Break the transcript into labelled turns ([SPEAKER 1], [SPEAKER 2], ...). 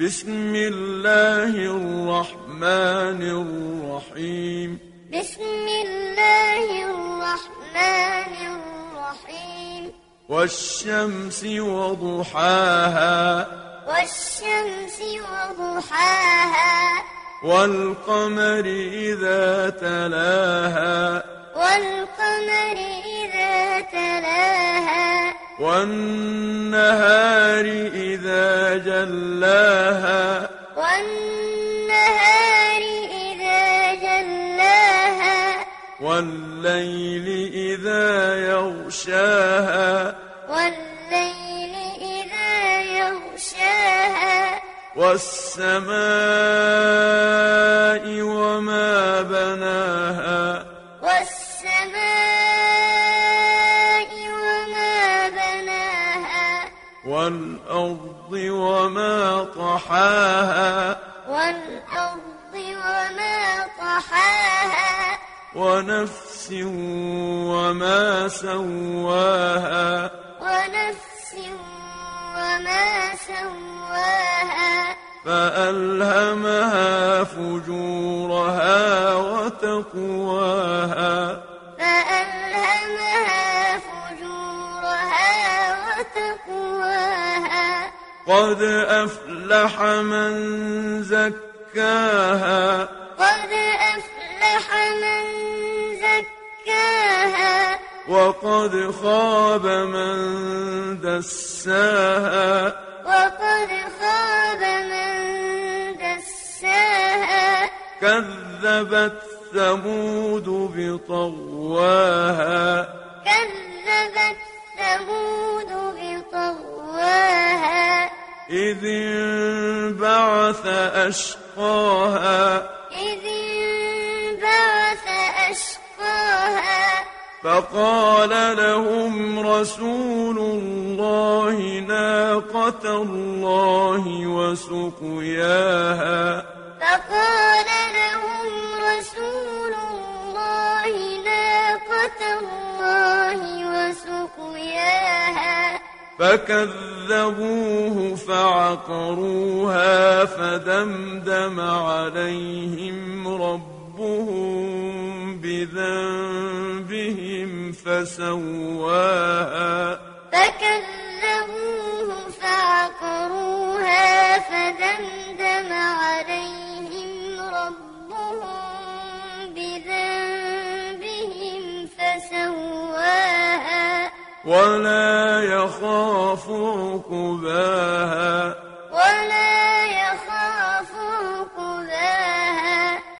[SPEAKER 1] بسم الله الرحمن الرحيم
[SPEAKER 2] بسم الله الرحمن الرحيم
[SPEAKER 1] والشمس وضحاها
[SPEAKER 2] والشمس وضحاها
[SPEAKER 1] والقمر إذا تلاها
[SPEAKER 2] والقمر إذا تلاها
[SPEAKER 1] والنهار إذا جلاها
[SPEAKER 2] والنهار إذا جلاها
[SPEAKER 1] والليل إذا يغشاها
[SPEAKER 2] والليل إذا يغشاها
[SPEAKER 1] والسماء وما بناها
[SPEAKER 2] والسماء وما بناها
[SPEAKER 1] والأرض وما طحاها
[SPEAKER 2] والأرض وما طحاها
[SPEAKER 1] ونفس وما سواها
[SPEAKER 2] ونفس وما سواها
[SPEAKER 1] فألهمها فجورها وتقواها
[SPEAKER 2] فألهمها فجورها وتقواها
[SPEAKER 1] قد أفلح من زكاها
[SPEAKER 2] قد أفلح من زكاها
[SPEAKER 1] وقد خاب من دساها
[SPEAKER 2] وقد خاب من دساها
[SPEAKER 1] كذبت ثمود بطغواها
[SPEAKER 2] كذبت ثمود بطغواها
[SPEAKER 1] إذ انبعث أشقاها
[SPEAKER 2] إذ انبعث أشقاها
[SPEAKER 1] فقال لهم رسول الله ناقة الله وسقياها
[SPEAKER 2] فقال لهم رسول الله ناقة الله وسقياها
[SPEAKER 1] فكذبوه فعقروها فدمدم عليهم ربهم بذنبهم فسواها
[SPEAKER 2] فكذبوه فعقروها فدمدم عليهم ربهم بذنبهم فسواها
[SPEAKER 1] ولا يخاف عقباها